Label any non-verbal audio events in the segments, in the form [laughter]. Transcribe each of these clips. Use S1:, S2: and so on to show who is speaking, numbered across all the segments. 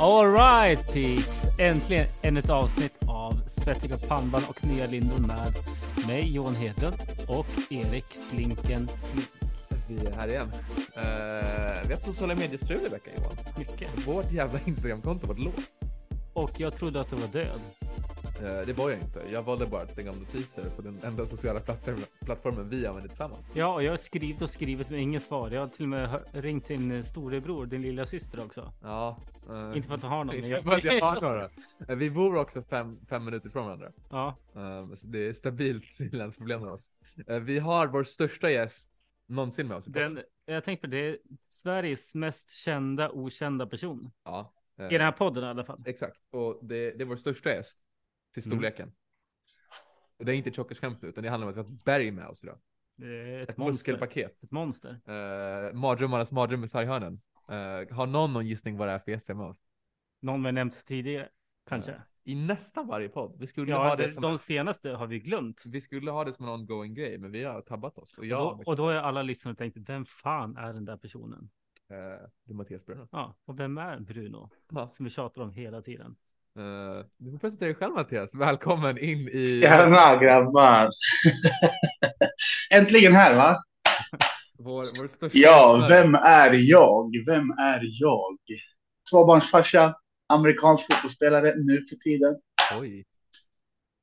S1: Alright Peaks! Äntligen ännu ett avsnitt av Svettiga pannband och nya lindor med mig Johan Hedlund och Erik Flinken Flink.
S2: Vi är här igen. Uh, vi har haft sociala mediestrul i veckan Johan.
S1: Mycket.
S2: Vårt jävla Instagramkonto var låst.
S1: Och jag trodde att du var död.
S2: Eh, det var jag inte. Jag valde bara att stänga av notiser på den enda sociala platsen, plattformen vi använder tillsammans.
S1: Ja, och jag har skrivit och skrivit men inget svar. Jag har till och med hör- ringt din storebror, din lilla syster också.
S2: Ja. eh,
S1: Inte [laughs] för att du har någon. men
S2: [laughs] inte för att jag har några. Eh, Vi bor också fem, fem minuter från varandra.
S1: ja,
S2: Eh, så det är stabilt [laughs] inlandsproblem med oss. Eh, vi har vår största gäst någonsin med oss. i podden.
S1: den, jag tänkte på det. är Sveriges mest kända okända person.
S2: Ja. eh,
S1: I den här podden i alla fall.
S2: Exakt, och det, det är vår största gäst till
S1: Mm.
S2: storleken. Och det är inte tjockerskämt utan det handlar om att vi har ett berg med oss idag.
S1: Det är ett,
S2: Ett
S1: monster.
S2: muskelpaket.
S1: Ett monster.
S2: Uh, mardrömmarnas mardröm i sarghörnen. Eh, har någon någon gissning vad det är för gäst vi har med oss?
S1: Någon vi har nämnt tidigare. Kanske.
S2: I nästan varje podd. Vi skulle,
S1: Ja,
S2: ha, det
S1: det,
S2: som,
S1: de senaste har vi glömt.
S2: vi skulle ha det som en ongoing grej, men vi har tabbat oss. Och
S1: Ja,
S2: jag,
S1: och, då, och då har alla lyssnare tänkt, vem fan är den där personen?
S2: eh, det är Mattias Bruno.
S1: Ja, och vem är Bruno?
S2: Ja.
S1: Som vi tjatar om hela tiden.
S2: Eh, du får presentera dig själv Mattias. Välkommen in i...
S3: Tjena grabbar! [laughs] Äntligen här va?
S2: Vår, vår största
S3: Ja,
S2: lyssnare.
S3: vem är jag? Vem är jag? Tvåbarnsfarsa, amerikansk fotbollsspelare nu för tiden.
S2: Oj.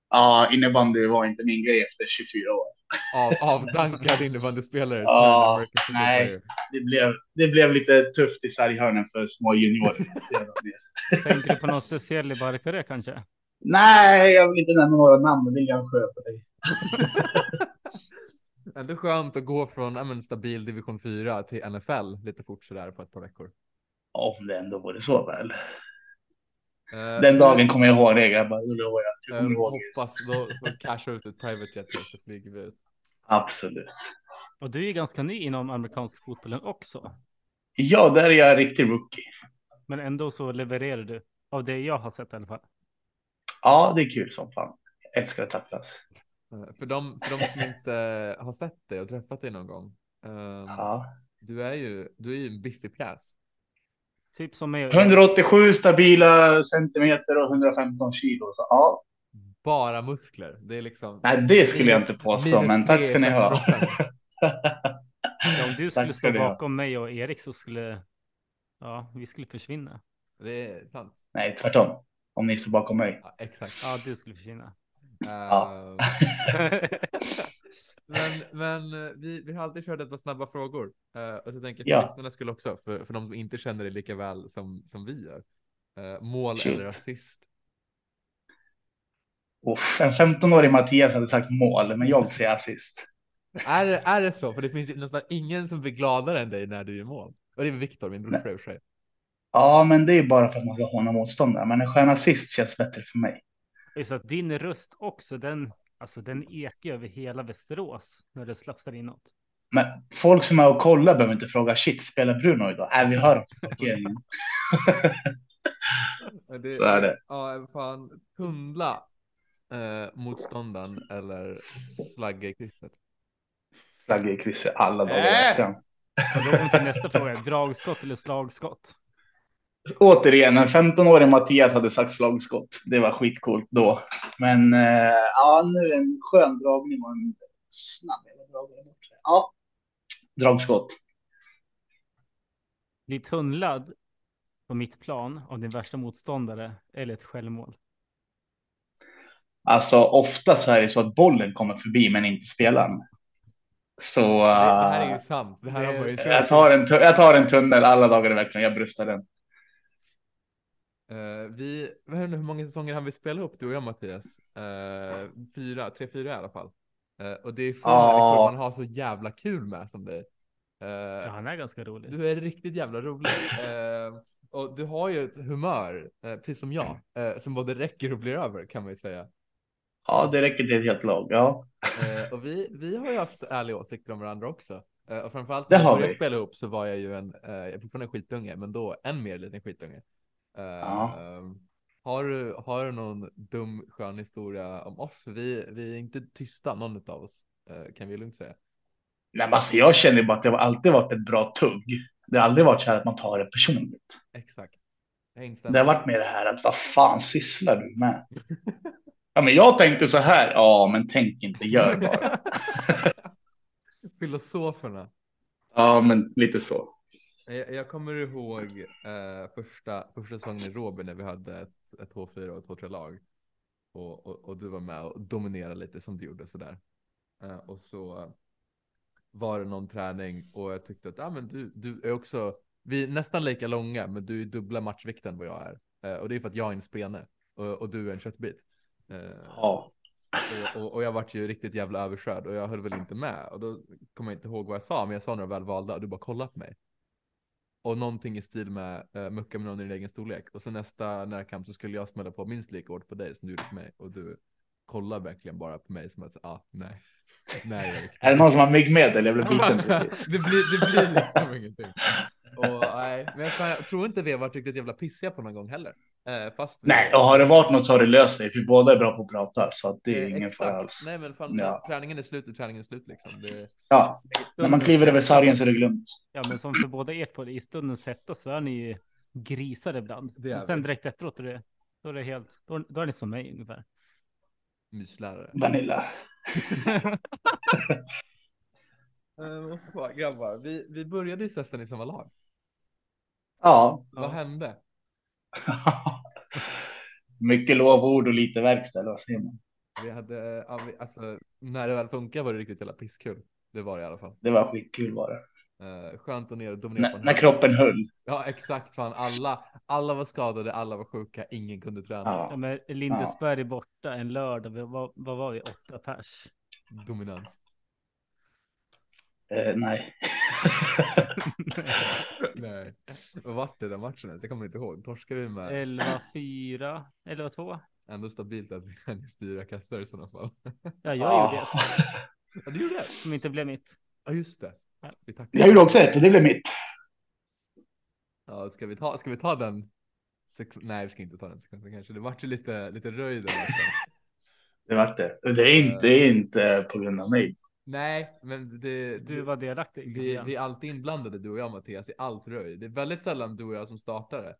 S3: Ja, innebandy var inte min grej efter 24 år.
S2: Av, avdankad innebandyspelare. till
S3: Ja,
S2: American football
S3: nej.
S2: player.
S3: Det blev, det blev lite tufft i sarghörnen för små juniorer. Så jag la ner. [laughs]
S1: Tänker du på någon speciell i Barkarö kanske?
S3: Nej, jag vill inte nämna några namn, men det är ganska skönt.
S2: Ändå skönt att gå från ja, men, stabil division 4 till NFL lite fort sådär på ett par veckor.
S3: Om det ändå vore så väl.
S2: Eh,
S3: Den dagen kommer jag ihåg det grabbar, det lovar jag. Jag
S2: eh,
S3: kommer ihåg det.
S2: hoppas då, då cashar ut ett private jet och så flyger vi ut.
S3: Absolut.
S1: Och du är ju ganska ny inom amerikansk fotbollen också.
S3: Ja, där är jag en riktig rookie.
S1: Men ändå så levererar du. Av det jag har sett i alla fall.
S3: Ja, det är kul som fan. Jag älskar att tacklas.
S2: Eh, för, de, för de som inte har sett dig och träffat dig någon gång. ehm,
S3: Ja.
S2: du, är ju, du är ju en biffig pjäs.
S1: Typ som mig.
S3: 187 stabila centimeter och 115 kilo. Så, ja.
S2: Bara muskler. Det är liksom.
S3: Nej, det skulle jag
S2: minus-
S3: inte påstå,
S2: minus
S3: men tack
S2: tre
S3: ska ni ha.
S2: 50%.
S1: Om du skulle
S3: Tack
S1: stå
S3: ska du ha.
S1: bakom mig och Erik så skulle... Ja, vi skulle försvinna.
S2: Det är sant.
S3: Nej, tvärtom. Om ni står bakom mig.
S2: Ja, exakt.
S1: Ja, du skulle försvinna. [laughs]
S2: Ehm, Men, men eh, vi, vi har alltid kört ett par snabba frågor. Eh, och så tänker jag för
S3: Ja.
S2: lyssnarna skulle också, för, för de som inte känner dig lika väl som, som vi gör. Eh, mål
S3: Shoot.
S2: eller assist?
S3: Uff, en 15-årig Mattias hade sagt mål, men jag säger assist.
S2: Är, det- är det så? För det finns ju nästan ingen som blir gladare än dig när du gör mål. Och det är Viktor, min brorsa i och för sig.
S3: Ja, men det är bara för att man ska håna motståndare. Men en skön assist känns bättre för mig.
S1: Just att din röst också, den, alltså, den ekar över hela Västerås när du slafsar inåt.
S3: Men folk som är och kollar behöver inte fråga shit, spelar Bruno idag? Nej, vi hör från parkeringen.
S2: [laughs] Eh, Det,
S3: Så är det.
S2: Ja, eh, fan. Tunnla eh, motståndaren eller slagga i krysset.
S3: Slagg i krysset alla dagar i veckan.
S1: Och då kommer vi till nästa fråga. Dragskott eller slagskott?
S3: Återigen, en 15-årig Mattias hade sagt slagskott. Det var skitcoolt då. Men eh, ja, nu en skön dragning och en snabb jävla dragare bort. Ja, dragskott.
S1: Bli tunnlad på mitt plan av din värsta motståndare eller ett självmål.
S3: Alltså oftast är det så att bollen kommer förbi men inte spelaren. Så
S2: Det, det här är
S3: eh,
S2: ju sant. Det här
S1: Det-
S2: har man ju
S3: jag, tar en, tu- jag tar en tunnel alla dagar i veckan. Jag bröstar den.
S2: Eh, vi, jag vet inte hur många säsonger han vill spela upp du och jag Mattias? Eh, fyra, tre, fyra i alla fall. Eh, och det är få
S3: Ja.
S2: människor man har så jävla kul med som dig. Eh,
S1: Ja, han är ganska rolig.
S2: Du är riktigt jävla rolig. Eh, och du har ju ett humör, eh, precis som jag, eh, som både räcker och blir över kan man ju säga.
S3: Ja, det räcker till ett helt lag. Ja,
S2: Eh, och vi, vi har ju haft ärliga åsikter om varandra också. Eh, och framförallt
S3: Det
S2: när jag
S3: har
S2: började
S3: vi.
S2: spela ihop så var jag ju en, eh, jag är fortfarande en skitunge, men då en mer liten skitunge. Eh,
S3: Ja.
S2: ehm, har, du, har du någon dum skön historia om oss? Vi, vi är inte tysta, någon av oss, eh, kan vi lugnt säga.
S3: Nej, men alltså, jag känner ju bara att det har alltid varit ett bra tugg. Det har aldrig varit så här att man tar det personligt.
S2: Exakt. Jag instämmer.
S3: Det har
S2: [laughs]
S3: varit mer det här att vad fan sysslar du med? Ja, men jag tänkte så här. Ja, men tänk inte, gör bara.
S2: Filosoferna.
S3: Ja, men lite så.
S2: Eh, Jag, jag kommer ihåg eh, första, första säsongen i Robin när vi hade ett, ett H4 och ett H3-lag. Och, och, och du var med och dominerade lite som du gjorde sådär. Eh, och så var det någon träning och jag tyckte att ah, men du, du är också, vi är nästan lika långa men du är dubbla matchvikten vad jag är. Eh, och det är för att jag är en spene och, och du är en köttbit. Eh,
S3: Ja,
S2: och, och, och jag vart ju riktigt jävla överkörd och jag höll väl inte med. Och då kommer jag inte ihåg vad jag sa, men jag sa några väl valda och du bara kollade på mig. Och någonting i stil med uh, mucka med någon i din egen storlek. Och så nästa närkamp så skulle jag smälla på minst lika hårt på dig som du gjorde på mig. Och du kollar verkligen bara på mig som att, ah, nej. nej Erik.
S3: är det någon som har myggmedel? Jag blev biten
S2: [laughs] Alltså,
S3: precis.
S2: det, blir, det blir liksom ingenting. Och, nej, men jag, fan, jag tror inte vi har varit riktigt jävla pissiga på någon gång heller. Eh, fast vi-
S3: Nej, och har det varit något så har det löst sig. För vi båda är bra på att prata, så att det är
S2: Eh,
S3: ingen fara alls.
S2: Nej men fan,
S3: Ja.
S2: träningen är slut, är träningen är slut liksom. Det,
S3: Ja,
S1: I
S3: när
S1: stunden-
S3: man kliver över sargen så är det glömt.
S1: Ja, men som för båda er två, i stundens hetta så är ni ju grisar ibland.
S2: Det är
S1: Men sen
S2: vi.
S1: direkt efteråt, är det, då är det helt, då, då är ni som mig
S2: [laughs]
S1: ungefär.
S2: Myslärare.
S3: Vanilla.
S2: Uh, grabbar, vi, vi började ju säsongen i samma lag.
S3: Ja. [laughs]
S1: Ja.
S2: Vad hände?
S3: Mycket lovord och lite verkstad, eller vad säger man?
S2: Vi hade, ja, vi- alltså, när det väl funkar var det riktigt jävla pisskul. Det var det i alla fall.
S3: Det var skitkul bara.
S2: Uh, skönt att ner och dominera på
S3: När,
S2: en
S3: när
S2: hög.
S3: kroppen höll.
S2: Ja exakt, fan alla, alla var skadade, alla var sjuka, ingen kunde träna.
S1: Ja,
S3: Ja.
S1: men Lindesberg är borta en lördag, Vi- vad, vad var vi, åtta pers?
S2: Dominans.
S3: Eh,
S2: [laughs]
S3: nej. [laughs]
S2: Nej. Vad vart det den matchen ens? Jag kommer inte ihåg. Torskade vi med
S1: 11-4, 11-2?
S2: ändå stabilt att vi hann i fyra kassar i sådana fall.
S1: Ja, jag
S3: Ja.
S1: gjorde ett
S2: Ja du gjorde det?
S1: som inte blev mitt.
S2: Ja just det. Vi tackar.
S3: [laughs] Jag gjorde också ett och det blev mitt.
S2: Ja, ska vi ta, ska vi ta den? Sek- Nej, vi ska inte ta den sekvensen kanske. Det vart ju lite, lite röj där. [laughs] liksom.
S3: Det vart det. Och Det är inte, det är inte på grund av mig.
S2: Nej, men det,
S1: Du var delaktig.
S2: vi,
S1: Adrian.
S2: vi är alltid inblandade, du och jag Mattias, i allt röj. Det är väldigt sällan du och jag som startar det.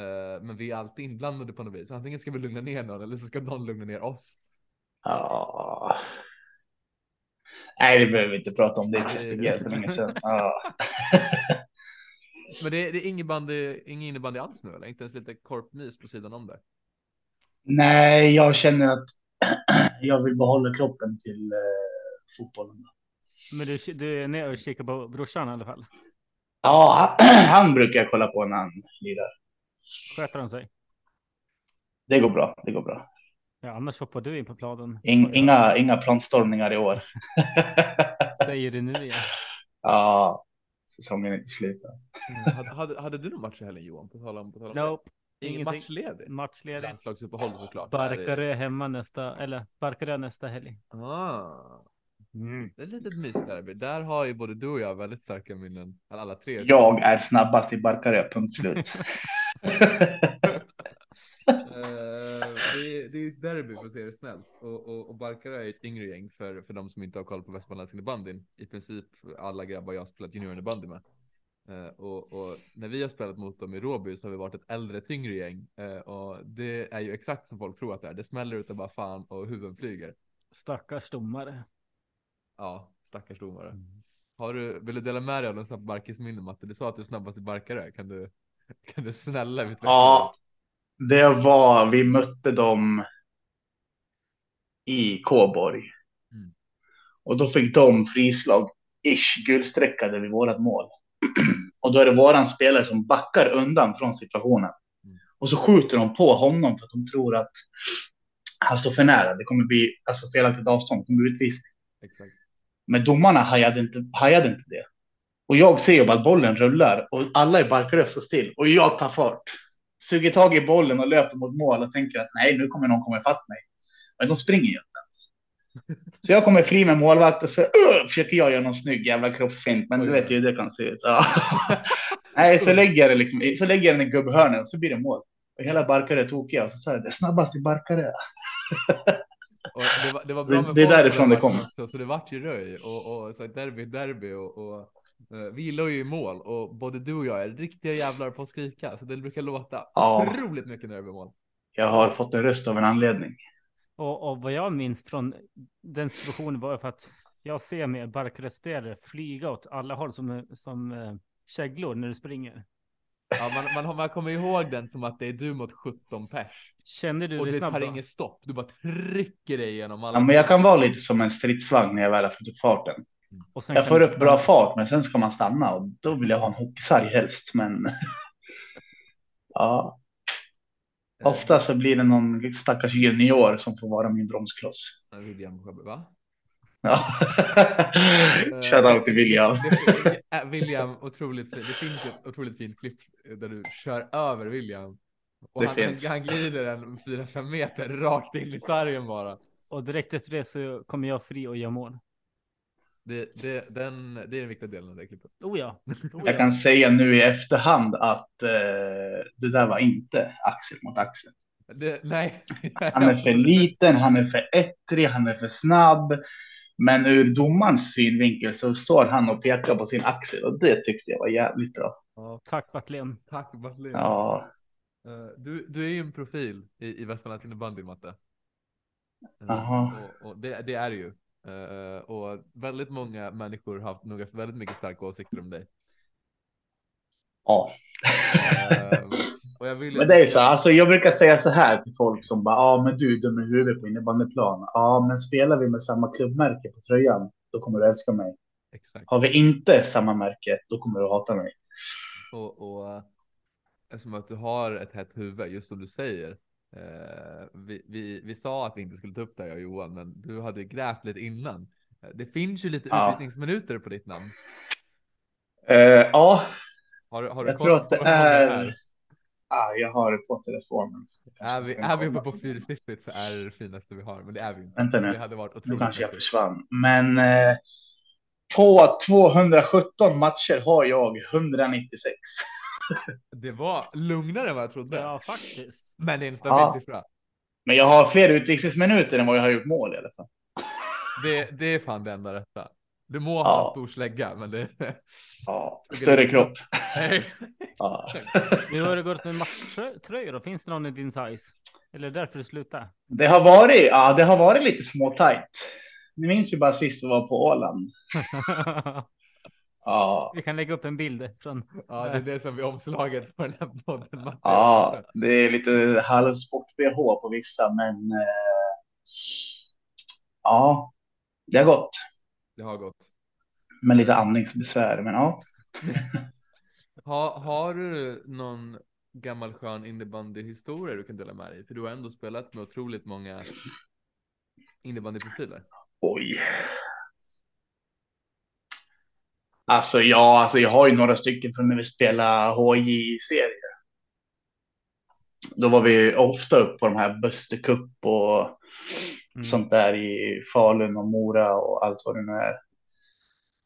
S2: Eh, men vi är alltid inblandade på något vis. Antingen ska vi lugna ner någon eller så ska någon lugna ner oss.
S3: Ja. Nej, det behöver vi inte prata om. Det är
S2: Nej.
S3: preskriberat för länge sedan. Ja. [laughs]
S2: Men det, det är ingen, bandy, ingen innebandy alls nu, eller? Inte ens lite korpmys på sidan om där.
S3: Nej, jag känner att [clears throat] jag vill behålla kroppen till eh, fotbollen.
S1: Men du, du är nere och kikar på brorsan i alla fall.
S3: Ja, han, [clears throat] han brukar jag kolla på när han lirar.
S1: Sköter han sig?
S3: Det går bra. Det går bra.
S1: Ja, annars hoppar du in på planen.
S3: In, inga, inga planstormningar i år. [laughs]
S1: Säger det nu igen.
S3: ja, säsongen är inte slut. än.
S2: Hade, hade, hade du någon match i helgen Johan? På tal om, på tal om det.
S1: Nope,
S2: Ingen
S1: ingenting.
S2: matchledig?
S1: matchledig.
S2: Landslagsuppehåll såklart. Där är-
S1: Barkarö hemma nästa, eller Barkarö nästa helg.
S2: Ah.
S1: Mm.
S2: Det är ett litet mysderby. Där har ju både du och jag väldigt starka minnen. Eller alla tre.
S3: Jag är snabbast i Barkarö,
S2: [laughs]
S3: punkt slut.
S2: Eh, det, är- det är ju ett derby för att se det snällt. Och, och, och Barkarö är ju ett yngre gäng för, för de som inte har koll på Västmanlandsinnebandyn. I princip alla grabbar jag har spelat juniorinnebandy med. Eh, och, och när vi har spelat mot dem i Råby så har vi varit ett äldre, tyngre gäng. Eh, och det är ju exakt som folk tror att det är. Det smäller utav bara fan och huvuden flyger.
S1: Stackars domare.
S2: Ja, stackars domare. Har du, vill du dela med dig av de snabba barkisminnen Matte? Du sa att du är snabbast i barkare. Kan du, [laughs] kan du snälla utveckla?
S3: ja, det var, vi mötte dem i Kåborg.
S2: Mm.
S3: Och då fick de frislag, ish, gulsträckade vid vårat mål. [clears throat] och då är det våran spelare som backar undan från situationen.
S2: Mm.
S3: Och så skjuter de på honom för att de tror att han står för nära. Det kommer bli alltså, felaktigt avstånd, det kommer bli utvisning.
S2: Exakt.
S3: Men domarna hajade inte, hajade inte det. Och jag ser ju bara att bollen rullar och alla i Barkarö står still och jag tar fart. Suger tag i bollen och löper mot mål och tänker att nej, nu kommer någon komma ifatt mig. Men de springer ju inte ens. Så jag kommer fri med målvakt och så "Åh!" försöker jag göra någon snygg jävla kroppsfint. Men du vet ju hur det kan se ut. Ja. [laughs] Nej, så lägger jag det liksom, i- så lägger jag den i gubbhörnet och så blir det mål. Och hela Barkarö är tokiga och så säger jag, det är snabbast i Barkarö.
S2: Och det, var, det var bra
S3: Det-
S2: med
S3: det är
S2: folk på
S3: därifrån
S2: den
S3: det
S2: matchen
S3: kommer.
S2: Också, så det vart ju röj och, och så ett derby, derby och, och Eh, Vi gillar ju mål och både du och jag är riktiga jävlar på att skrika, så det brukar låta
S3: Ja.
S2: otroligt mycket när det blir mål.
S3: [laughs] Jag har fått en röst av en anledning.
S1: Och, och vad jag minns från den situationen var för att jag ser med Barca-spelare flyga åt alla håll som, som eh, käglor när du springer.
S2: Ja, man, man, har- man kommer ihåg den som att det är du mot 17 pers
S1: Kände du
S2: och
S1: det
S2: det
S1: snabbt?
S2: tar
S1: då?
S2: inget stopp. Du bara trycker dig igenom alla.
S3: Ja, men jag kan vara lite som en stridsvagn när jag väl har fått upp farten.
S1: Och sen
S3: Jag
S1: kan
S3: får
S1: du
S3: upp
S1: stanna.
S3: bra fart, men sen ska man stanna och då vill jag ha en hockeysarg helst. Men [laughs] ja,
S2: Eh,
S3: ofta så blir det någon stackars junior som får vara min bromskloss.
S2: Eh, William Sjöberg, va?
S3: Ja. Shoutout till William.
S2: Det- det- äh, William, otroligt fint. Det finns ett otroligt fint klipp eh, där du kör över William. Och
S3: Det
S2: han,
S3: finns.
S2: han, han glider en 4-5 meter rakt in i sargen bara.
S1: Och direkt efter det så kommer jag fri och gör mål.
S2: Det, det, den, det är den viktiga delen av det klippet.
S1: Oh ja. Oh
S3: Jag
S1: ja.
S3: kan säga nu i efterhand att eh, det där var inte axel mot axel.
S2: Det, nej.
S3: Han är för liten, han är för ettrig, han är för snabb. Men ur domarens synvinkel så står han och pekar på sin axel och det tyckte jag var jävligt bra.
S1: Ja, Tack Backlén.
S2: [laughs] Tack Martin.
S3: Ja,
S2: Eh, Du, du är ju en profil i, i Västmanlands innebandy, Matte. Eh,
S3: Jaha.
S2: Och, och det, det är du ju. Eh, Och väldigt många människor har haft några väldigt mycket starka åsikter om dig.
S3: ja.
S2: Eh, Och jag vill ju
S3: Men
S2: att
S3: det
S2: du
S3: är
S2: ska-
S3: så, alltså jag brukar säga så här till folk som bara, ja ah, men du är dum i huvudet på innebandyplan. Ja, ah, men spelar vi med samma klubbmärke på tröjan, då kommer du älska mig.
S2: Exakt.
S3: Har vi inte samma märke, då kommer du hata mig.
S2: Och, och eh, eftersom att du har ett hett huvud, just som du säger. Eh, vi, vi, vi sa att vi inte skulle ta upp det här, jag och Johan, men du hade grävt lite innan. Eh, Det finns ju lite
S3: Ja.
S2: utvisningsminuter på ditt namn.
S3: Eh, Ja,
S2: Har, du- har du
S3: jag
S2: koll
S3: tror att det
S2: på hur många det
S3: är... Ah, jag har det på telefonen.
S2: Är vi, är vi uppe på fyrsiffrigt så är det det finaste vi har, men det är vi inte.
S3: Vänta nu.
S2: Det hade varit
S3: Nu
S2: otroligt
S3: kanske jag
S2: mäktigt.
S3: försvann. Men eh, på 217 matcher har jag 196.
S2: Det var lugnare än vad jag trodde.
S1: Ja, faktiskt.
S2: Men det är en stabil
S3: Ja.
S2: siffra.
S3: Men jag har fler utvisningsminuter än vad jag har gjort mål i alla fall.
S2: Det, det är fan det enda rätta. Du må
S3: Ja.
S2: ha en stor slägga, men det... [laughs]
S3: Ja, större kropp. Ja.
S1: Hur har det gått med matchtröjor då? Finns det någon i din size? Eller därför du slutar? [laughs]
S3: Det har varit, ja, det har varit lite småtajt. Ni minns ju bara sist vi var på Åland. Ja,
S1: Vi kan lägga upp en bild från
S2: ja, det är det som är omslaget på den här podden. Matte.
S3: ja, det är lite halvsport-bh på vissa, men eh, ja, det har gått
S2: Det har gått.
S3: med lite andningsbesvär. Men ja,
S2: Ha, har du någon gammal skön innebandyhistoria du kan dela med dig? För du har ändå spelat med otroligt många innebandyprofiler.
S3: Oj. Alltså ja, alltså jag har ju några stycken från när vi spelade HJ-serier. Då var vi ofta upp på de här Buster Cup och
S1: Mm.
S3: sånt där i Falun och Mora och allt vad det nu är.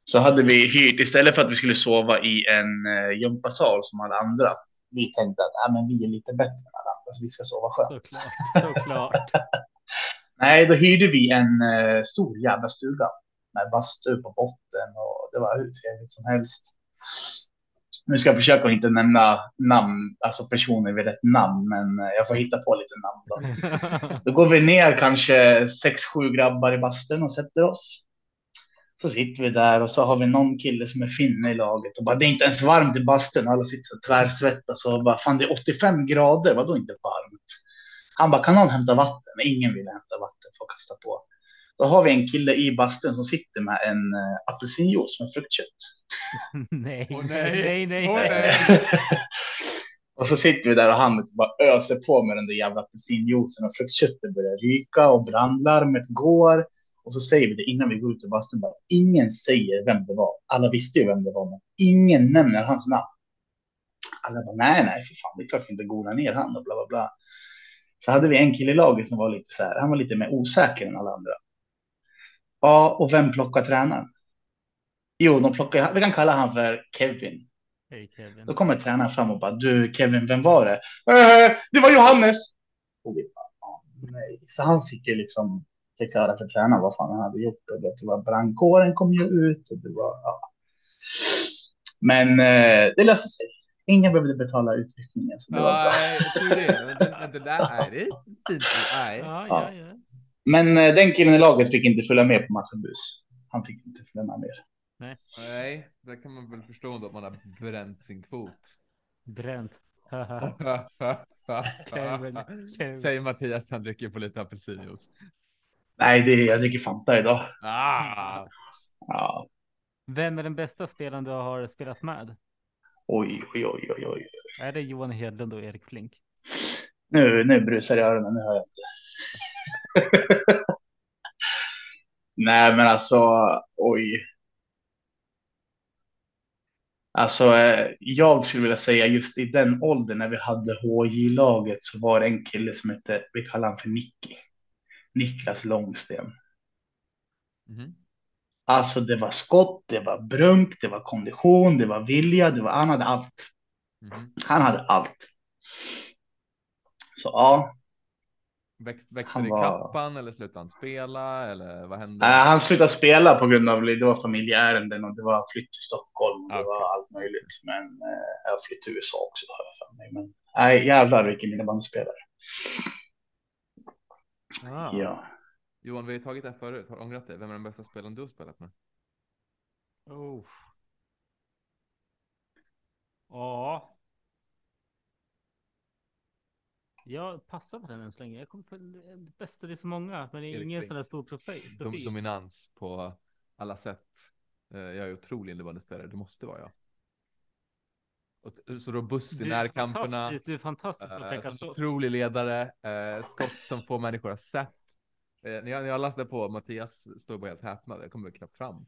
S3: Så hade vi hyrt, istället för att vi skulle sova i en eh, gympasal som alla andra. Vi tänkte att "Ah, men vi är lite bättre än alla andra, så vi ska sova skönt.
S1: såklart. såklart. [laughs]
S3: Nej, då hyrde vi en eh, stor jävla stuga med bastu på botten och det var hur trevligt som helst. Nu ska jag försöka att inte nämna namn, alltså personer vid rätt namn, men eh, jag får hitta på lite namn då. Då går vi ner kanske sex, sju grabbar i bastun och sätter oss. Så sitter vi där och så har vi någon kille som är finne i laget och bara det är inte ens varmt i bastun. Alla sitter så tvärsvettas och bara fan det är 85 grader, vadå inte varmt? Han bara kan någon hämta vatten? Men Ingen ville hämta vatten för att kasta på. Då har vi en kille i bastun som sitter med en eh, apelsinjuice med fruktkött.
S1: nej,
S2: Åh, nej.
S1: nej, nej, nej.
S2: Åh, nej.
S3: [laughs] och så sitter vi där och han bara öser på med den där jävla apelsinjuicen och fruktköttet börjar ryka och brandlarmet går. Och så säger vi det innan vi går ut ur bastun bara, ingen säger vem det var. Alla visste ju vem det var, men ingen nämner hans namn. Alla bara, nej, nej, för fan, det är klart vi inte golar ner han och bla, bla, bla. Så hade vi en kille i laget som var lite så här, han var lite mer osäker än alla andra. Ja, och vem plockar tränaren? Jo, de plockar, vi kan kalla han för Kevin.
S1: Hej Kevin.
S3: Då kommer tränaren fram och bara du Kevin, vem var det? "Eh, det var Johannes. Och vi bara, "Ah, nej. Så han fick ju liksom förklara för tränaren vad fan han hade gjort. Och det var brandkåren kom ju ut och det var, ja. Men eh, det löste sig. Ingen behövde betala utryckningen. Så det var bra.
S2: Nej, tur det. Men, men det där är det. Fint. Nej.
S1: Ja, ja,
S3: Ja.
S1: ja.
S3: Men eh, den killen i laget fick inte följa med på massa bus. Han fick inte följa med mer.
S2: Nej, där kan man väl förstå ändå att man har bränt sin kvot.
S1: Bränt. [laughs] Haha. Kevin, Kevin.
S2: Säger Mattias han dricker på lite apelsinjuice.
S3: Nej, det, jag dricker Fanta idag.
S2: Ah,
S3: Ja,
S1: Vem är den bästa spelaren du har spelat med?
S3: oj, oj, oj, oj, oj.
S1: Är det Johan Hedlund och Erik Flink?
S3: Nu, nu brusar det i öronen, nu hör jag inte. [laughs] Nej, men alltså, oj. Alltså, eh, jag skulle vilja säga just i den åldern när vi hade HJ-laget så var det en kille som hette, vi kallar han för Nicky. Niklas Långsten.
S2: Mhm.
S3: Alltså, det var skott, det var brunk, det var kondition, det var vilja, det var, han hade allt.
S2: mhm.
S3: Han hade allt. Så ja,
S2: Växt, växte
S3: Han
S2: det i
S3: var- Ah,
S2: kappan eller slutade han spela eller vad hände?
S3: Nej, Eh, han slutade spela på grund av det var familjeärenden och det var flytt till Stockholm och det
S2: Ah, okej.
S3: var allt möjligt. Men eh, jag flyttade till USA också har jag för mig. Men nej, jävlar vilken innebandyspelare.
S2: Ah.
S3: Ja.
S2: Johan, vi har ju tagit det här förut. Har du ångrat dig? Vem är den bästa spelaren du har spelat med?
S1: Oh. Ja. Jag passar på den än så länge. Jag kommer för det bästa, det är så många, men det är
S2: Erik
S1: ingen
S2: Flink.
S1: sån där stor profil.
S2: Dom,
S1: profil.
S2: dominans på alla sätt. Eh, Jag är otrolig innebandyspelare. Det måste vara jag. Och- Så robust i
S1: Du är
S2: närkamperna.
S1: fantastisk, du är fantastisk på att
S2: Eh,
S1: täcka
S2: som
S1: skott.
S2: otrolig ledare, eh, skott som får människor att sätt. Eh, när, jag, när jag läste på Mattias stod bara helt häpnad, jag kommer knappt fram.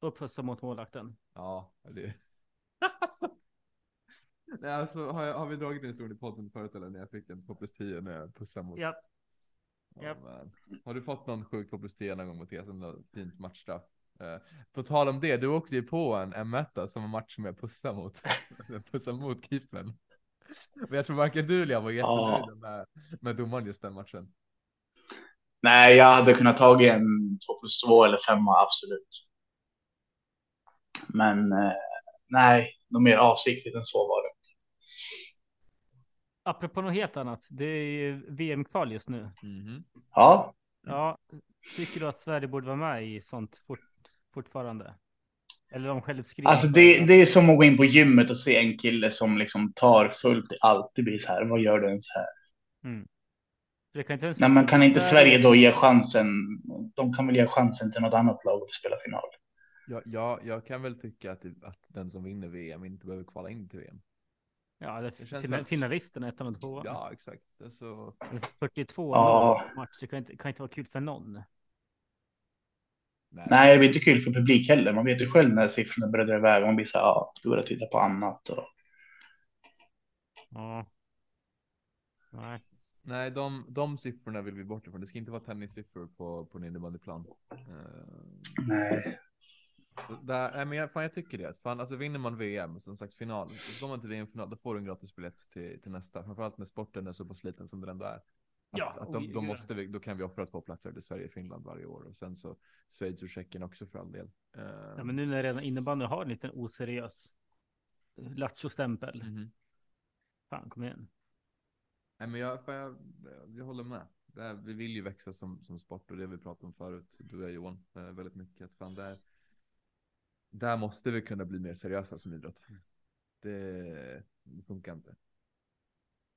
S1: Uppfösta mot målvakten.
S2: Ja, det... alltså. Nej, alltså, har, jag, har vi dragit en historia i podden förut eller när jag fick en 2 plus 10 när jag pussade mot?
S1: Ja,
S2: Ja,
S1: Japp.
S2: men. Har du fått någon sjuk 2 plus 10 någon gång Mattias? En där fint matchstraff. Eh, på tal om det, du åkte ju på en M1 som en match som jag pussade mot. [laughs] Jag pussade mot keepern. Men jag tror varken du eller jag var jättenöjda med, med domaren just den matchen.
S3: Nej, jag hade kunnat tagit en 2 plus 2 eller 5 absolut. Men eh, nej, något mer avsiktligt än så var det.
S1: apropå något helt annat. Det är ju VM-kval just nu.
S2: Mhm.
S3: Ja,
S1: Ja, tycker du att Sverige borde vara med i sånt fort, fortfarande? Eller de självskrivna?
S3: alltså det, det är som att gå in på gymmet och se en kille som liksom tar fullt i allt. Det blir så här, vad gör du ens här?
S1: För det kan inte ens
S3: Nej, men kan inte Sverige då ge chansen? De kan väl ge chansen till något annat lag att spela final?
S2: Jag, jag, jag kan väl tycka att, att den som vinner VM inte behöver kvala in till VM.
S1: Ja, det
S2: Det känns
S1: fina,
S2: väl-
S1: finalisterna, ettan och tvåan.
S2: Ja, exakt. Alltså,
S1: 42
S3: Ja.
S1: match, det kan inte, kan inte vara kul för någon.
S2: nej.
S3: Nej, det blir inte kul för publik heller. Man vet ju själv när siffrorna börjar dra iväg. Man blir så här, ja, du börjar titta på annat. Och...
S1: Ja. Nej.
S2: Nej, de, de siffrorna vill vi bort ifrån. Det ska inte vara tennissiffror på, på en innebandyplan. Eh,
S3: Nej.
S2: Där, nej, men jag, fan, jag tycker det. Fan, alltså, vinner man VM, som sagt final, så går man till VM-final, då får du en gratisbiljett till, till nästa. Framförallt när sporten är så pass liten som den ändå är. Att,
S1: Ja,
S2: att de,
S1: oj,
S2: då,
S1: gud.
S2: måste vi, då kan vi offra två platser till Sverige och Finland varje år. Och sen så Schweiz och Tjeckien också för all del. Eh,
S1: Ja, men nu när redan innebandy har en liten oseriös lattjo-stämpel.
S2: mhm.
S1: Fan, kom igen.
S2: Nej, men jag, fan, jag, jag håller med. Det här, vi vill ju växa som, som sport och det har vi pratat om förut, du och jag Johan, eh, väldigt mycket. Att fan, där, där måste vi kunna bli mer seriösa som idrott. Det, det funkar inte.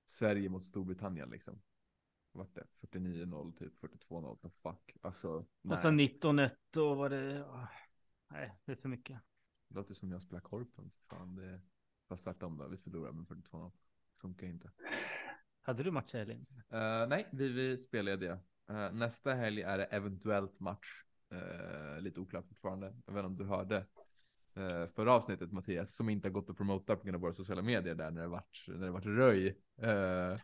S2: Sverige mot Storbritannien liksom. Vart det? 49-0, typ 42-0. The fuck. Alltså, nej.
S1: Och så 19-1 och var det... ah, Nej, det är för mycket.
S2: Det låter som när jag spelar korpen. Fan, det, fast tvärtom då. Vi förlorar med 42-0. Funkar inte.
S1: Hade du match Elin?
S2: Eh, nej, vi, vi spelar det. Eh, nästa helg är det eventuellt match. Eh, lite oklart fortfarande. Jag vet inte om du hörde eh, förra avsnittet Mattias, som inte har gått att promota på grund av våra sociala medier där när det vart, när det vart röj. Eh,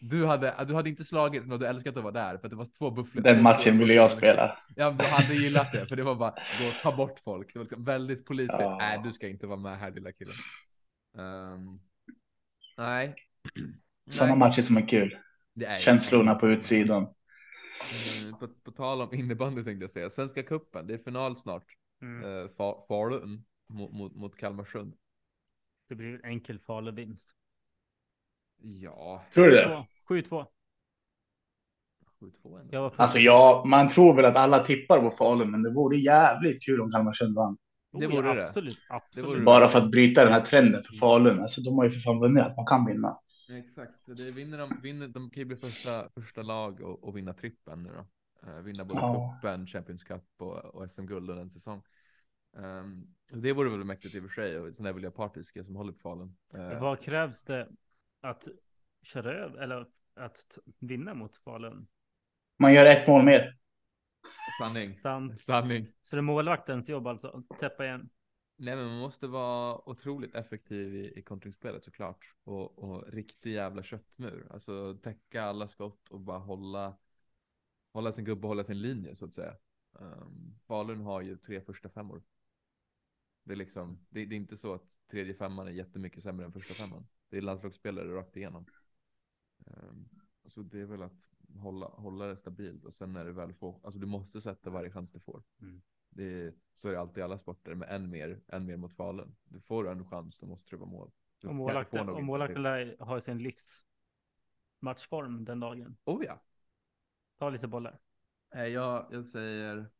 S2: du, hade, eh, du hade inte slagit, men du älskat att vara där för att det var två bufflor.
S3: Den matchen ville jag spela.
S2: Ja, men du hade gillat det, för det var bara gå och ta bort folk. Det var liksom väldigt polisigt.
S3: Ja.
S2: Nej, du ska inte vara med här lilla killen. Ehm, nej.
S3: Sådana
S2: Nej.
S3: matcher som är kul.
S2: Det är ju-
S3: Känslorna på utsidan.
S2: Mm, På, på tal om innebandy tänkte jag säga. Svenska cupen, det är final snart.
S1: Mm.
S2: Eh, Fa- Falun mot, mot, mot Kalmarsund.
S1: Det blir en enkel Faluvinst.
S2: Ja,
S3: Tror du det?
S1: 7-2.
S2: 7-2 ändå.
S1: Jag var först.
S3: Alltså ja, man tror väl att alla tippar på Falun, men det vore jävligt kul om Kalmarsund vann.
S2: det
S1: Oj,
S2: vore det.
S1: Oh, Absolut, absolut.
S2: vore det.
S3: Bara för att bryta den här trenden för Falun. Alltså de har ju för fan vunnit att man kan vinna.
S2: Exakt, så det vinner de, vinner, de kan ju bli första, första lag och, och vinna trippen nu då. Eh, vinna både
S3: Ja.
S2: cupen, Champions Cup och, och SM-guld under en säsong. Ehm, så det vore väl mäktigt i och för sig och sådana där vill jag partiska som håller på Falun. Eh,
S1: Vad krävs det att köra över eller att t- vinna mot Falun?
S3: Man gör ett mål mer.
S2: sanning.
S1: Sant.
S2: Sanning.
S1: Så det är målvaktens jobb alltså att täppa igen.
S2: Nej, men man måste vara otroligt effektiv i, i kontringsspelet såklart. Och, och riktig jävla köttmur. Alltså täcka alla skott och bara hålla, hålla sin gubbe och hålla sin linje så att säga. Um, Falun har ju tre första femmor. Det är liksom, det, det är inte så att tredje femman är jättemycket sämre än första femman. Det är landslagsspelare rakt igenom. Ehm, så det är väl att hålla, hålla det stabilt och sen när du väl får, alltså du måste sätta varje chans du får.
S1: Mm.
S2: Det är, så är det alltid i alla sporter, men än mer, än mer mot Falun. Du får en chans, då måste du vara mål. Du
S1: Och
S2: kan- får
S1: målvakten,
S2: nog
S1: och
S2: inte
S1: målvakten
S2: till.
S1: lär ha sin livs matchform den dagen.
S2: Oh ja!
S1: Ta lite bollar.
S2: Eh, Jag, jag säger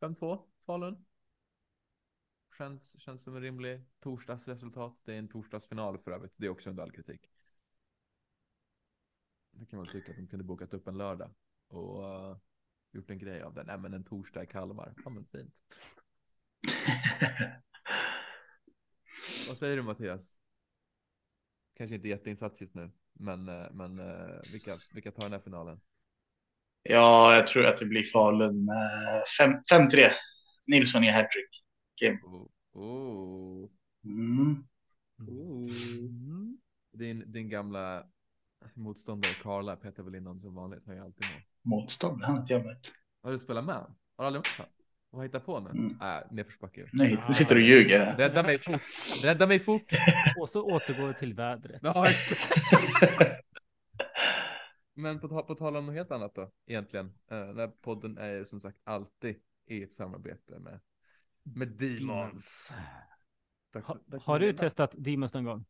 S2: 5-2 Falun. Känns, känns som en rimlig torsdagsresultat. Det är en torsdagsfinal för övrigt. Det är också under all kritik. Det kan man tycka att de kunde bokat upp en lördag och eh, gjort en grej av det. Nej, men en torsdag i Kalmar. Ja, men fint.
S3: [laughs]
S2: Vad säger du Mattias? Kanske inte jätteinsats just nu, men, eh, men eh, vilka, vilka tar den här finalen?
S3: Ja, jag tror att det blir Falun. eh, fem- 5-3. Nilsson i hattrick.
S2: Oh, oh.
S3: Mm.
S1: Mm.
S2: Din, din gamla motståndare Karla petar väl in någon som vanligt, har ju alltid med.
S3: Motstånd, det har inte jag mött.
S2: Har du spelat med honom? Har du aldrig mött honom? Vad hittar på nu?
S3: Mm.
S2: Nej, nedförsbacke. ju.
S3: Nej, du sitter och ljuger [laughs] här.
S2: Rädda mig fort! Rädda mig
S3: [laughs]
S2: fort!
S1: Och så återgår vi till vädret.
S2: Ja, exakt. Men på, ta- på tal om något helt annat då, egentligen. Eh, den här podden är ju som sagt alltid i ett samarbete med, med Demons. Dags-
S1: Ha,
S2: dags
S1: har
S2: att
S1: du
S2: vinna.
S1: testat Demons någon gång?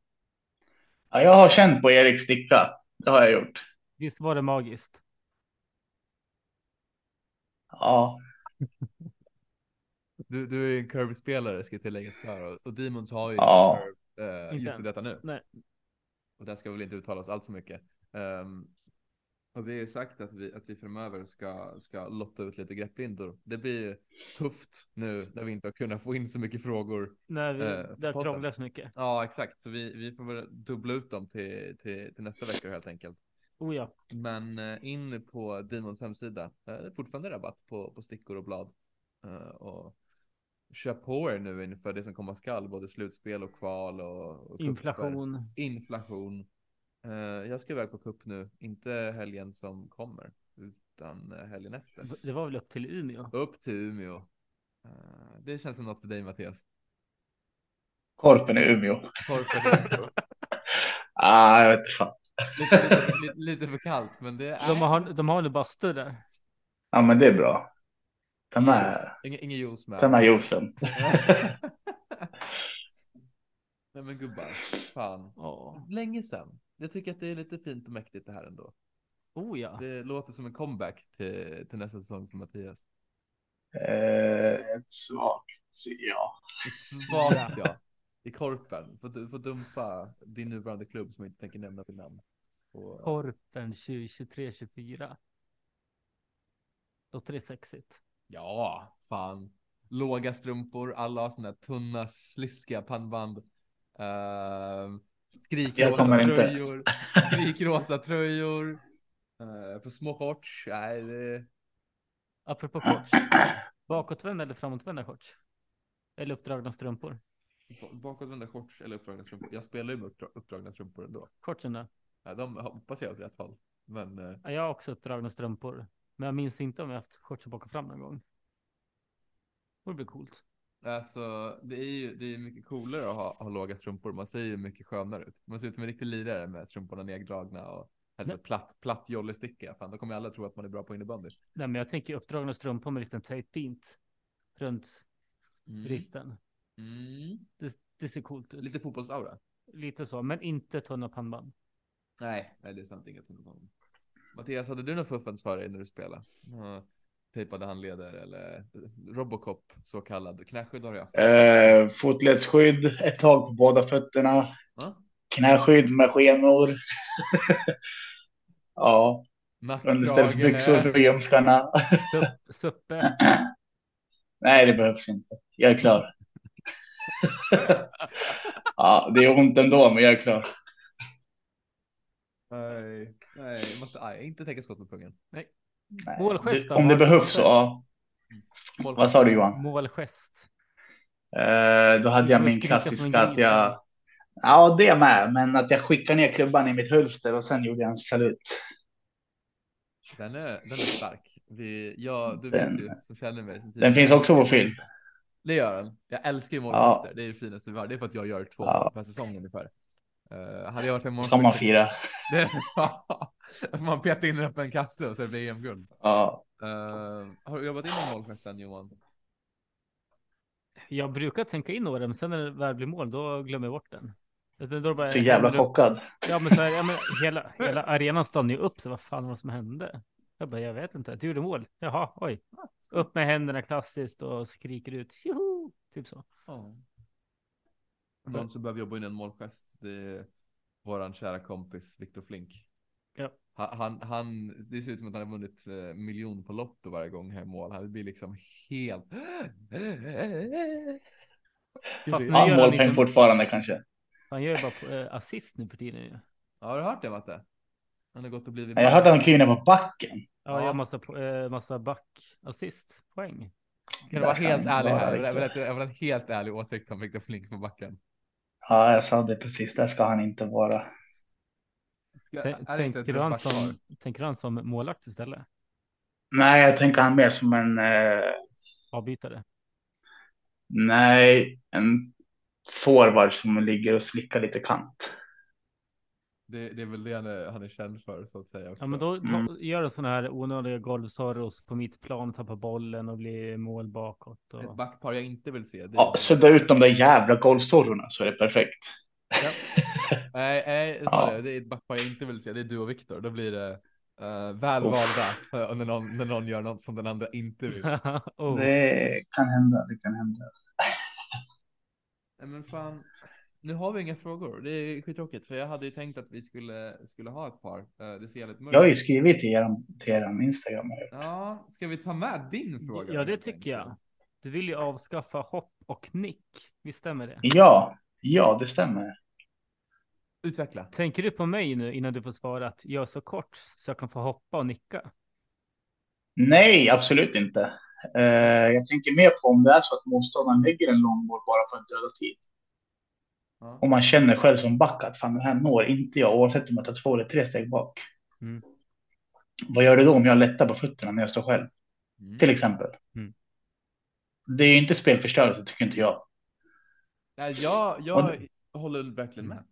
S3: Ja, jag har känt på Erik sticka. Det har jag gjort.
S1: Visst var det magiskt?
S3: Ja,
S2: Du, du är ju en curve-spelare ska tilläggas här och, och Demons har ju
S3: Ja.
S2: curve eh,
S1: Inte
S2: just i
S1: än.
S2: detta nu.
S1: Nej.
S2: Och där ska vi väl inte uttala oss allt så mycket. Ehm, och vi har ju sagt att vi, att vi framöver ska, ska lotta ut lite grepplindor. Det blir tufft nu när vi inte har kunnat få in så mycket frågor.
S1: När vi,
S2: Eh,
S1: det
S2: podden.
S1: krånglar så mycket.
S2: Ja, exakt. Så vi, vi får väl dubbla ut dem till, till, till nästa vecka helt enkelt.
S1: Oh ja.
S2: Men eh, in på Demons hemsida. Eh, Det är fortfarande rabatt på, på stickor och blad. Eh, Och köp på er nu inför det som komma skall. Både slutspel och kval och, och kupper.
S1: Inflation.
S2: Inflation. Eh, Jag ska iväg på cup nu. Inte helgen som kommer. Utan eh, helgen efter.
S1: Det var väl upp till Umeå?
S2: Upp till Umeå. Eh, Det känns som något för dig Mattias.
S3: korpen i Umeå.
S2: Korpen,
S3: [laughs]
S2: Umeå.
S3: Ah, jag vet inte fan.
S2: lite, lite, lite, lite för kallt men det är...
S1: De har, de har nu bastu där.
S3: Ja, men det är bra. Ta
S2: Ingen
S3: med,
S2: juice. Ingen, ingen juice med.
S3: ta med juicen.
S2: Nej men gubbar, fan.
S1: Oh.
S2: Länge sedan. Jag tycker att det är lite fint och mäktigt det här ändå.
S1: oh ja.
S2: Det låter som en comeback till, till nästa säsong för Mattias.
S3: Eh, ett svagt, ja.
S2: Ett svagt ja. I korpen. Får, du- får dumpa din nuvarande klubb som jag inte tänker nämna vid namn. Och,
S1: Korpen 2023 24 Låter det sexigt?
S2: Ja, fan. Låga strumpor, alla har såna här tunna, sliskiga pannband. Uh,
S3: Jag
S2: skrikrosa
S3: kommer inte.
S2: tröjor. Skrikrosa tröjor. Eh, för små shorts. Nej, det...
S3: [clears throat]
S1: Apropå shorts. Bakåtvända eller framåtvända shorts? Eller uppdragna strumpor?
S2: ba- Bakåtvända shorts eller uppdragna strumpor. Jag spelar ju med uppdra- uppdragna strumpor ändå.
S1: Shortsen där.
S2: Ja, de hoppas jag åt rätt håll. Men eh,
S1: Ja, Jag har också uppdragna strumpor. Men jag minns inte om jag haft shortsen bak och fram någon gång. Det blir coolt.
S2: Alltså, det är ju det är mycket coolare att ha, ha låga strumpor. Man ser ju mycket skönare ut. Man ser ut som en riktig lirare med strumporna neddragna och alltså,
S1: Nej.
S2: platt, platt jollesticka. Fan, då kommer alla tro att man är bra på innebandy.
S1: Nej, men jag tänker uppdragna strumpor med en liten tejpbint runt
S2: Mm.
S1: bristen.
S2: Mm.
S1: Det, det ser coolt ut.
S2: Lite
S1: Lite,
S2: fotbollsaura.
S1: så, men inte tunna
S3: [laughs]
S1: pannband.
S2: Nej. Nej, det är sant. Inget tunnelbana. Mattias, hade du något fuffens för dig när du spelade? Uh, tejpade handleder eller Robocop, så kallad. Knäskydd har jag. haft.
S3: Eh, fotledsskydd, ett tag på båda fötterna,
S2: Ja.
S3: knäskydd med skenor. [laughs] ja,
S2: Nackkrage,
S3: underställsbyxor för ljumskarna.
S1: Supp- Suppe.
S3: Nej, det behövs inte. Jag är klar. ja, det är ont ändå, men jag är klar.
S2: Nej, nej, jag måste, nej, inte täcka skott med pungen.
S3: Nej.
S1: Målgest då,
S3: Om det
S1: Mark.
S3: behövs så, ja.
S2: Målgest.
S3: Vad sa du Johan?
S1: Målgest.
S3: Eh, då hade
S1: Du kommer
S3: jag min
S1: skrika som en
S3: klassiska att
S1: gris.
S3: jag... Ja, det med, men att jag skickade ner klubban i mitt hölster och sen gjorde jag en salut.
S2: Den är, den är stark. Vi, ja, du
S3: Den-
S2: vet ju som känner mig. Sen
S3: Den
S2: tidigare.
S3: finns också på film.
S2: Det gör den. Jag älskar ju
S3: Ja.
S2: målgester. Det är det finaste vi har. Det är för att jag gör två
S3: Ja.
S2: mål per säsong ungefär. Uh, hade jag varit en
S3: Ska man
S2: målskytt så- [laughs]
S3: fira.
S2: Det- Ja, man petar in en öppen kasse och så är det blir EM-guld.
S3: Ja.
S2: Eh, har du jobbat in i målgesten Johan?
S1: Jag brukar tänka in några, men sen när det väl blir mål, då glömmer jag bort den. Utan då bara
S3: Så jävla
S1: händer upp-
S3: chockad.
S1: Ja, men så här, ja, men hela, hela arenan stannade ju upp, så vad fan var det som hände? Jag bara, jag vet inte. Du gjorde mål. Jaha, oj. Upp med händerna klassiskt och skriker ut. Tjoho! Typ så.
S2: Ja.
S1: Mm.
S2: Någon som behöver jobba in en målgest. Det är våran kära kompis Viktor Flink.
S1: Ja.
S2: Han, han, han, det ser ut som att han har vunnit eh, miljon på Lotto varje gång han gör mål. Han blir liksom helt...
S1: Fast nu
S3: Ja,
S1: gör han,
S3: målpeng
S1: inte,
S3: fortfarande kanske.
S1: han gör ju bara eh, assist nu för tiden ju.
S2: Ja, har du hört det Matte? Han har gått och blivit...
S3: Nej, Jag hörde att han klev ner på backen.
S1: Ja, jag
S2: Ja.
S1: har massa, po- eh, massa backassist poäng.
S2: Kan du vara
S3: Där kan
S2: helt
S3: han
S2: ärlig
S3: vara,
S2: här? Jag vill-
S3: Viktor.
S2: jag vill att- jag vill ha en helt ärlig åsikt om Viktor Flink på backen.
S3: Ja, jag sa det precis. Där ska han inte vara.
S2: Ska-
S1: Tän-
S2: är det inte ett
S1: tänker, du han
S2: back kvar?
S1: som, tänker du han som målvakt istället?
S3: Nej, jag tänker han mer som en... Eh,
S1: Avbytare?
S3: nej, en forward som ligger och slickar lite kant.
S2: Det, det är väl det han är, han är känd för så att säga. också.
S1: Ja, men då ta,
S3: Mm.
S1: gör en sån här onödiga golvsorros på mitt plan, tappar bollen och blir mål bakåt. Och...
S2: Ett backpar jag inte vill se. Det
S3: Ja, sudda ut de där jävla golvsorrorna så är det perfekt.
S1: [laughs]
S2: Nej, nej, jag sa
S3: Ja.
S2: det. Det är ett backpar jag inte vill se. Det är du och Viktor. Då blir det eh, välvalda eh, när, någon, när någon gör något som den andra
S1: [laughs]
S2: inte vill.
S1: oh.
S3: Det kan hända, det kan hända.
S2: Nej, men fan. Nu har vi inga frågor. Det är skittråkigt. För jag hade ju tänkt att vi skulle, skulle ha ett par. Eh, det ser jävligt mörkt
S3: Jag har ju skrivit till er, till er Instagram. här.
S2: Ja, ska vi ta med din fråga?
S1: Ja, det
S2: helt
S1: tycker jag.
S2: enkelt?
S1: Du vill ju avskaffa hopp och nick. Visst stämmer det?
S3: Ja, ja, det stämmer.
S2: Utveckla.
S1: Tänker du på mig nu innan du får svara att gör så kort så jag kan få hoppa och nicka?
S3: Nej, absolut inte. Eh, jag tänker mer på om det är så att motståndaren lägger en långboll bara för att döda tid.
S2: Ja.
S3: Och man känner själv som back att fan den här når inte jag oavsett om jag tar två eller tre steg bak.
S1: Mm.
S3: Vad gör det då om jag lättar på fötterna när jag står själv?
S2: Mm.
S3: Till exempel.
S1: Mm.
S3: Det är ju inte spelförstörelse tycker inte jag.
S2: Nej, jag jag håller verkligen
S1: Mm.
S2: med.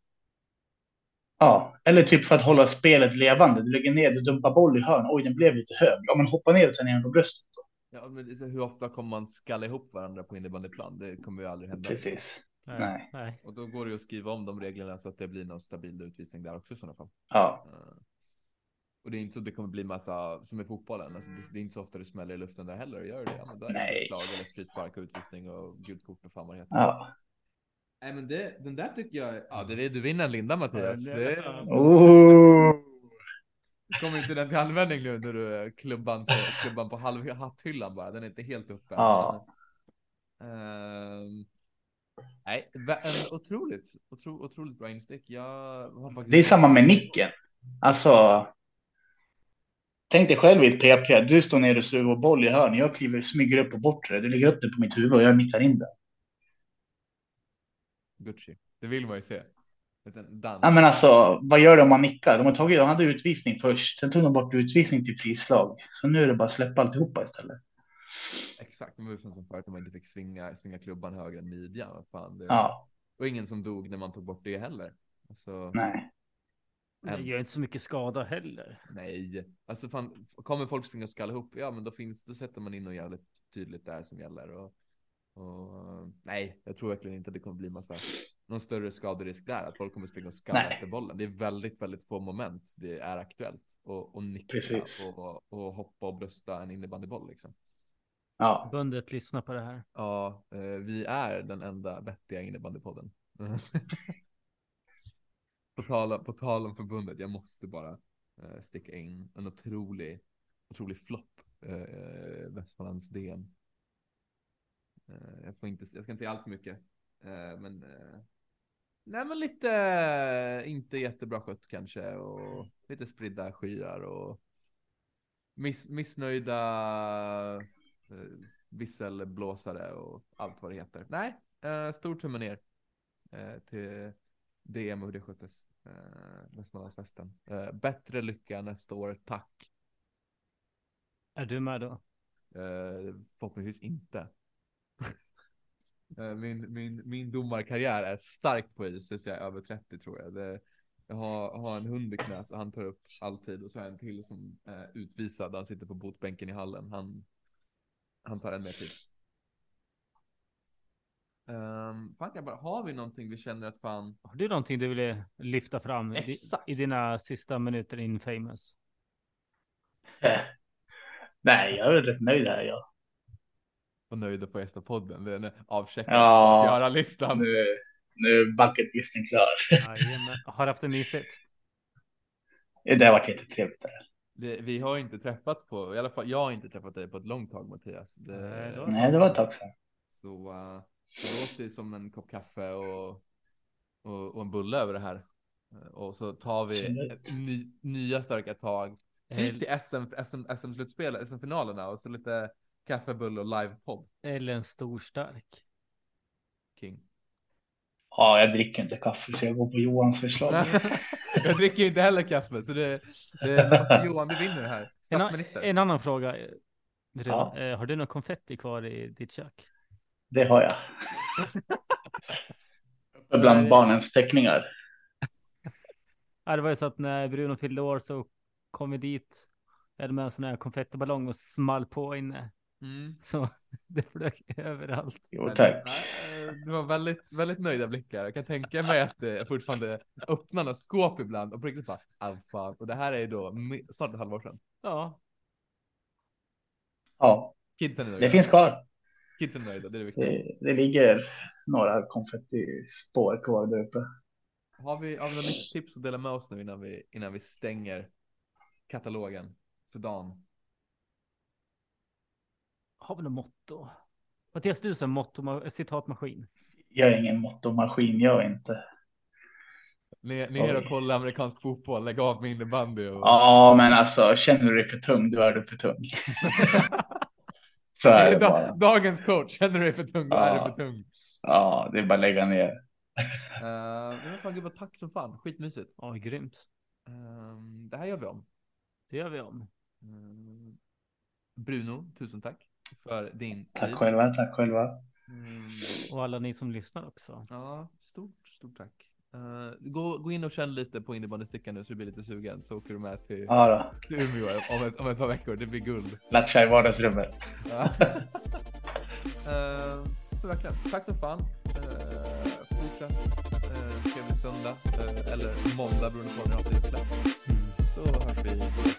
S3: Ja, eller typ för att hålla spelet levande. Du lägger ner, du dumpar boll i hörn. Oj, den blev lite hög. Ja, men hoppa ner och ta ner den på bröstet.
S2: Ja, men det är så- hur ofta kommer man skalla ihop varandra på innebandyplan? Det kommer ju aldrig hända.
S3: Precis. Nej.
S1: Nej.
S2: Och då går det ju att skriva om de reglerna så att det blir någon stabil utvisning där också i sådana fall.
S3: Ja,
S2: Eh, Och det är inte så att det kommer bli massa, som i fotbollen, alltså det, det är inte så ofta det smäller i luften där heller. Gör det? Ja, men där är det
S3: Nej.
S2: slag eller frispark och utvisning och gult kort och fan vad det heter.
S3: ja.
S2: Nej men det, den där tycker jag, ja det är, du vinner en linda Mattias.
S1: Ja,
S2: Det
S1: det- alltså-
S3: Oh.
S2: kommer inte den till användning nu när du är klubban på, klubban på halv, hatthyllan bara, den är inte helt uppe.
S3: Ja.
S2: Ehm, nej, va- en otroligt, otro, otroligt bra instick. Jag har faktiskt...
S3: Det är samma med nicken. Alltså. Tänk dig själv i ett PP. Du står ner och suger boll i hörn. Jag kliver, smyger upp på bortre. Du lägger upp den på mitt huvud och jag nickar in den.
S2: Gucci. Det vill man ju se. En dans.
S3: Ja, men alltså, vad gör de om man nickar? De har tagit, de hade utvisning först. Sen tog de bort utvisning till frislag. Så nu är det bara att släppa alltihopa istället.
S2: Exakt, men det känns som förut när man inte fick svinga, svinga klubban högre än midjan. Vad Fan, det...
S3: Ja,
S2: Och ingen som dog när man tog bort det heller. Alltså,
S3: nej.
S1: Det gör inte så mycket skada heller.
S2: nej. Alltså fan, kommer folk springa och skalla ihop, ja men då finns, då sätter man in något jävligt tydligt där som gäller. Och Och, eh, nej, jag tror verkligen inte att det kommer bli massa, någon större skaderisk där, att folk kommer springa och skalla
S3: Nej.
S2: efter bollen. Det är väldigt, väldigt få moment det är aktuellt. Och, och nicka
S3: Precis.
S2: och, och hoppa och brösta en innebandyboll liksom.
S3: Ja,
S1: Bundet lyssnar på det här.
S2: Ja, eh, vi är den enda vettiga innebandypodden. [laughs] på, tal, på tal om förbundet, jag måste bara eh, sticka in en otrolig, otrolig flopp, eh, Västmanlands DM. Eh, jag, får inte, jag ska inte säga allt för mycket, eh, men eh, nej, men lite eh, inte jättebra skött kanske och lite spridda skyar och miss, missnöjda eh, visselblåsare och allt vad det heter. Nej, eh, stor tumme ner eh, till DM och hur det sköttes. Eh, Västmanlandsfesten. Eh, bättre lycka nästa år, tack.
S1: Är du med då?
S2: Eh, förhoppningsvis inte. eh, min, min, min domarkarriär är starkt på is tills jag är över 30 tror jag. Det, jag har, har en hund i knät och han tar upp alltid och så har jag en till som är utvisad. Han sitter på botbänken i hallen. Han, han tar en mer tid. Um, fan grabbar, har vi någonting vi känner att fan
S1: Har du någonting du ville lyfta fram i,
S2: Exakt.
S1: i dina sista minuter in famous?
S3: Eh, nej, jag är rätt nöjd här. Jag.
S2: var nöjda på gästa podden? Det är en avcheckad
S3: Ja.
S2: göra-listan.
S3: Nu, nu är bucketlisten klar.
S1: Jajamän. Har haft det mysigt?
S3: [laughs] Det har varit jättetrevligt. det här.
S2: Det, vi har inte träffats på, i alla fall jag har inte träffat dig på ett långt tag Mattias.
S1: Nej, det var-
S3: Nej, det var ett tag sedan.
S2: Så eh, det låter ju som en kopp kaffe och, och, och en bulle över det här. Eh, Och så tar vi
S3: Absolut.
S2: ny, nya starka tag.
S1: Eh,
S2: Typ till SM, SM, SM-slutspel, SM-finalerna och så lite kaffe, bulle och livepodd.
S1: Eller en stor stark?
S2: King.
S3: Ja, jag dricker inte kaffe så jag går på Johans förslag.
S2: [laughs] Jag dricker ju inte heller kaffe så det, det Johan du vinner det här.
S1: En, a-
S2: Statsminister.
S1: en annan fråga. eh, Redan.
S3: Ja.
S1: Eh, Har du någon konfetti kvar i ditt kök?
S3: Det har jag. Uppe Bland barnens teckningar.
S1: Ja, det var ju så att när Bruno fyllde år så kom vi dit. Jag hade med en sån här konfettiballong och small på inne.
S2: Mm.
S1: Så [laughs] det flög överallt.
S3: Jo, tack.
S2: Nej, eh, Det var väldigt, väldigt nöjda blickar. Jag kan tänka mig att det fortfarande öppnar något skåp ibland och på riktigt bara, "Ah, fan." och det här är ju då mi- snart ett halvår sedan.
S1: Ja,
S3: Ja,
S2: Kidsen är nöjda.
S3: det finns Eh. kvar.
S2: Kidsen är nöjda, det är det viktiga.
S3: Det, det ligger några konfettispår kvar där uppe.
S2: Har vi, har vi några tips att dela med oss nu innan vi, innan vi stänger katalogen för dagen?
S1: har vi något motto? Mattias, du är som motto, citatmaskin.
S3: Jag är ingen mottomaskin, jag inte.
S2: Ner, ner och
S3: Oj.
S2: kolla amerikansk fotboll, lägg av med innebandy och...
S3: Ja, men alltså känner du dig för tung, då är du för [laughs] tung. så
S2: Det
S3: är
S2: är
S3: det
S2: da-
S3: bara.
S2: dagens coach, känner du dig för tung, då är du för tung.
S3: Ja, det är bara att lägga ner.
S2: Uh, men fan gud vad tack som fan, skitmysigt.
S1: Ja, grymt.
S2: Ehm, det här gör vi om.
S1: Det gör vi om.
S2: Mm. Bruno, tusen tack för din
S3: Tack
S2: tid.
S3: själva, tack själva.
S2: Mm.
S1: Och alla ni som lyssnar också.
S2: Ja, stort, stort tack. Eh, gå, gå in och känn lite på innebandystickan nu så du blir lite sugen så åker du med till,
S3: Ja då,
S2: till Umeå om ett, om ett par veckor. Det blir guld.
S3: latcha i vardagsrummet.
S2: Ja.
S3: [laughs]
S2: Eh, så verkligen, tack som fan. Eh, fortsätt eh, trevlig söndag eh, eller måndag beroende på när avsnittet släpps. Så hörs vi.
S1: Oh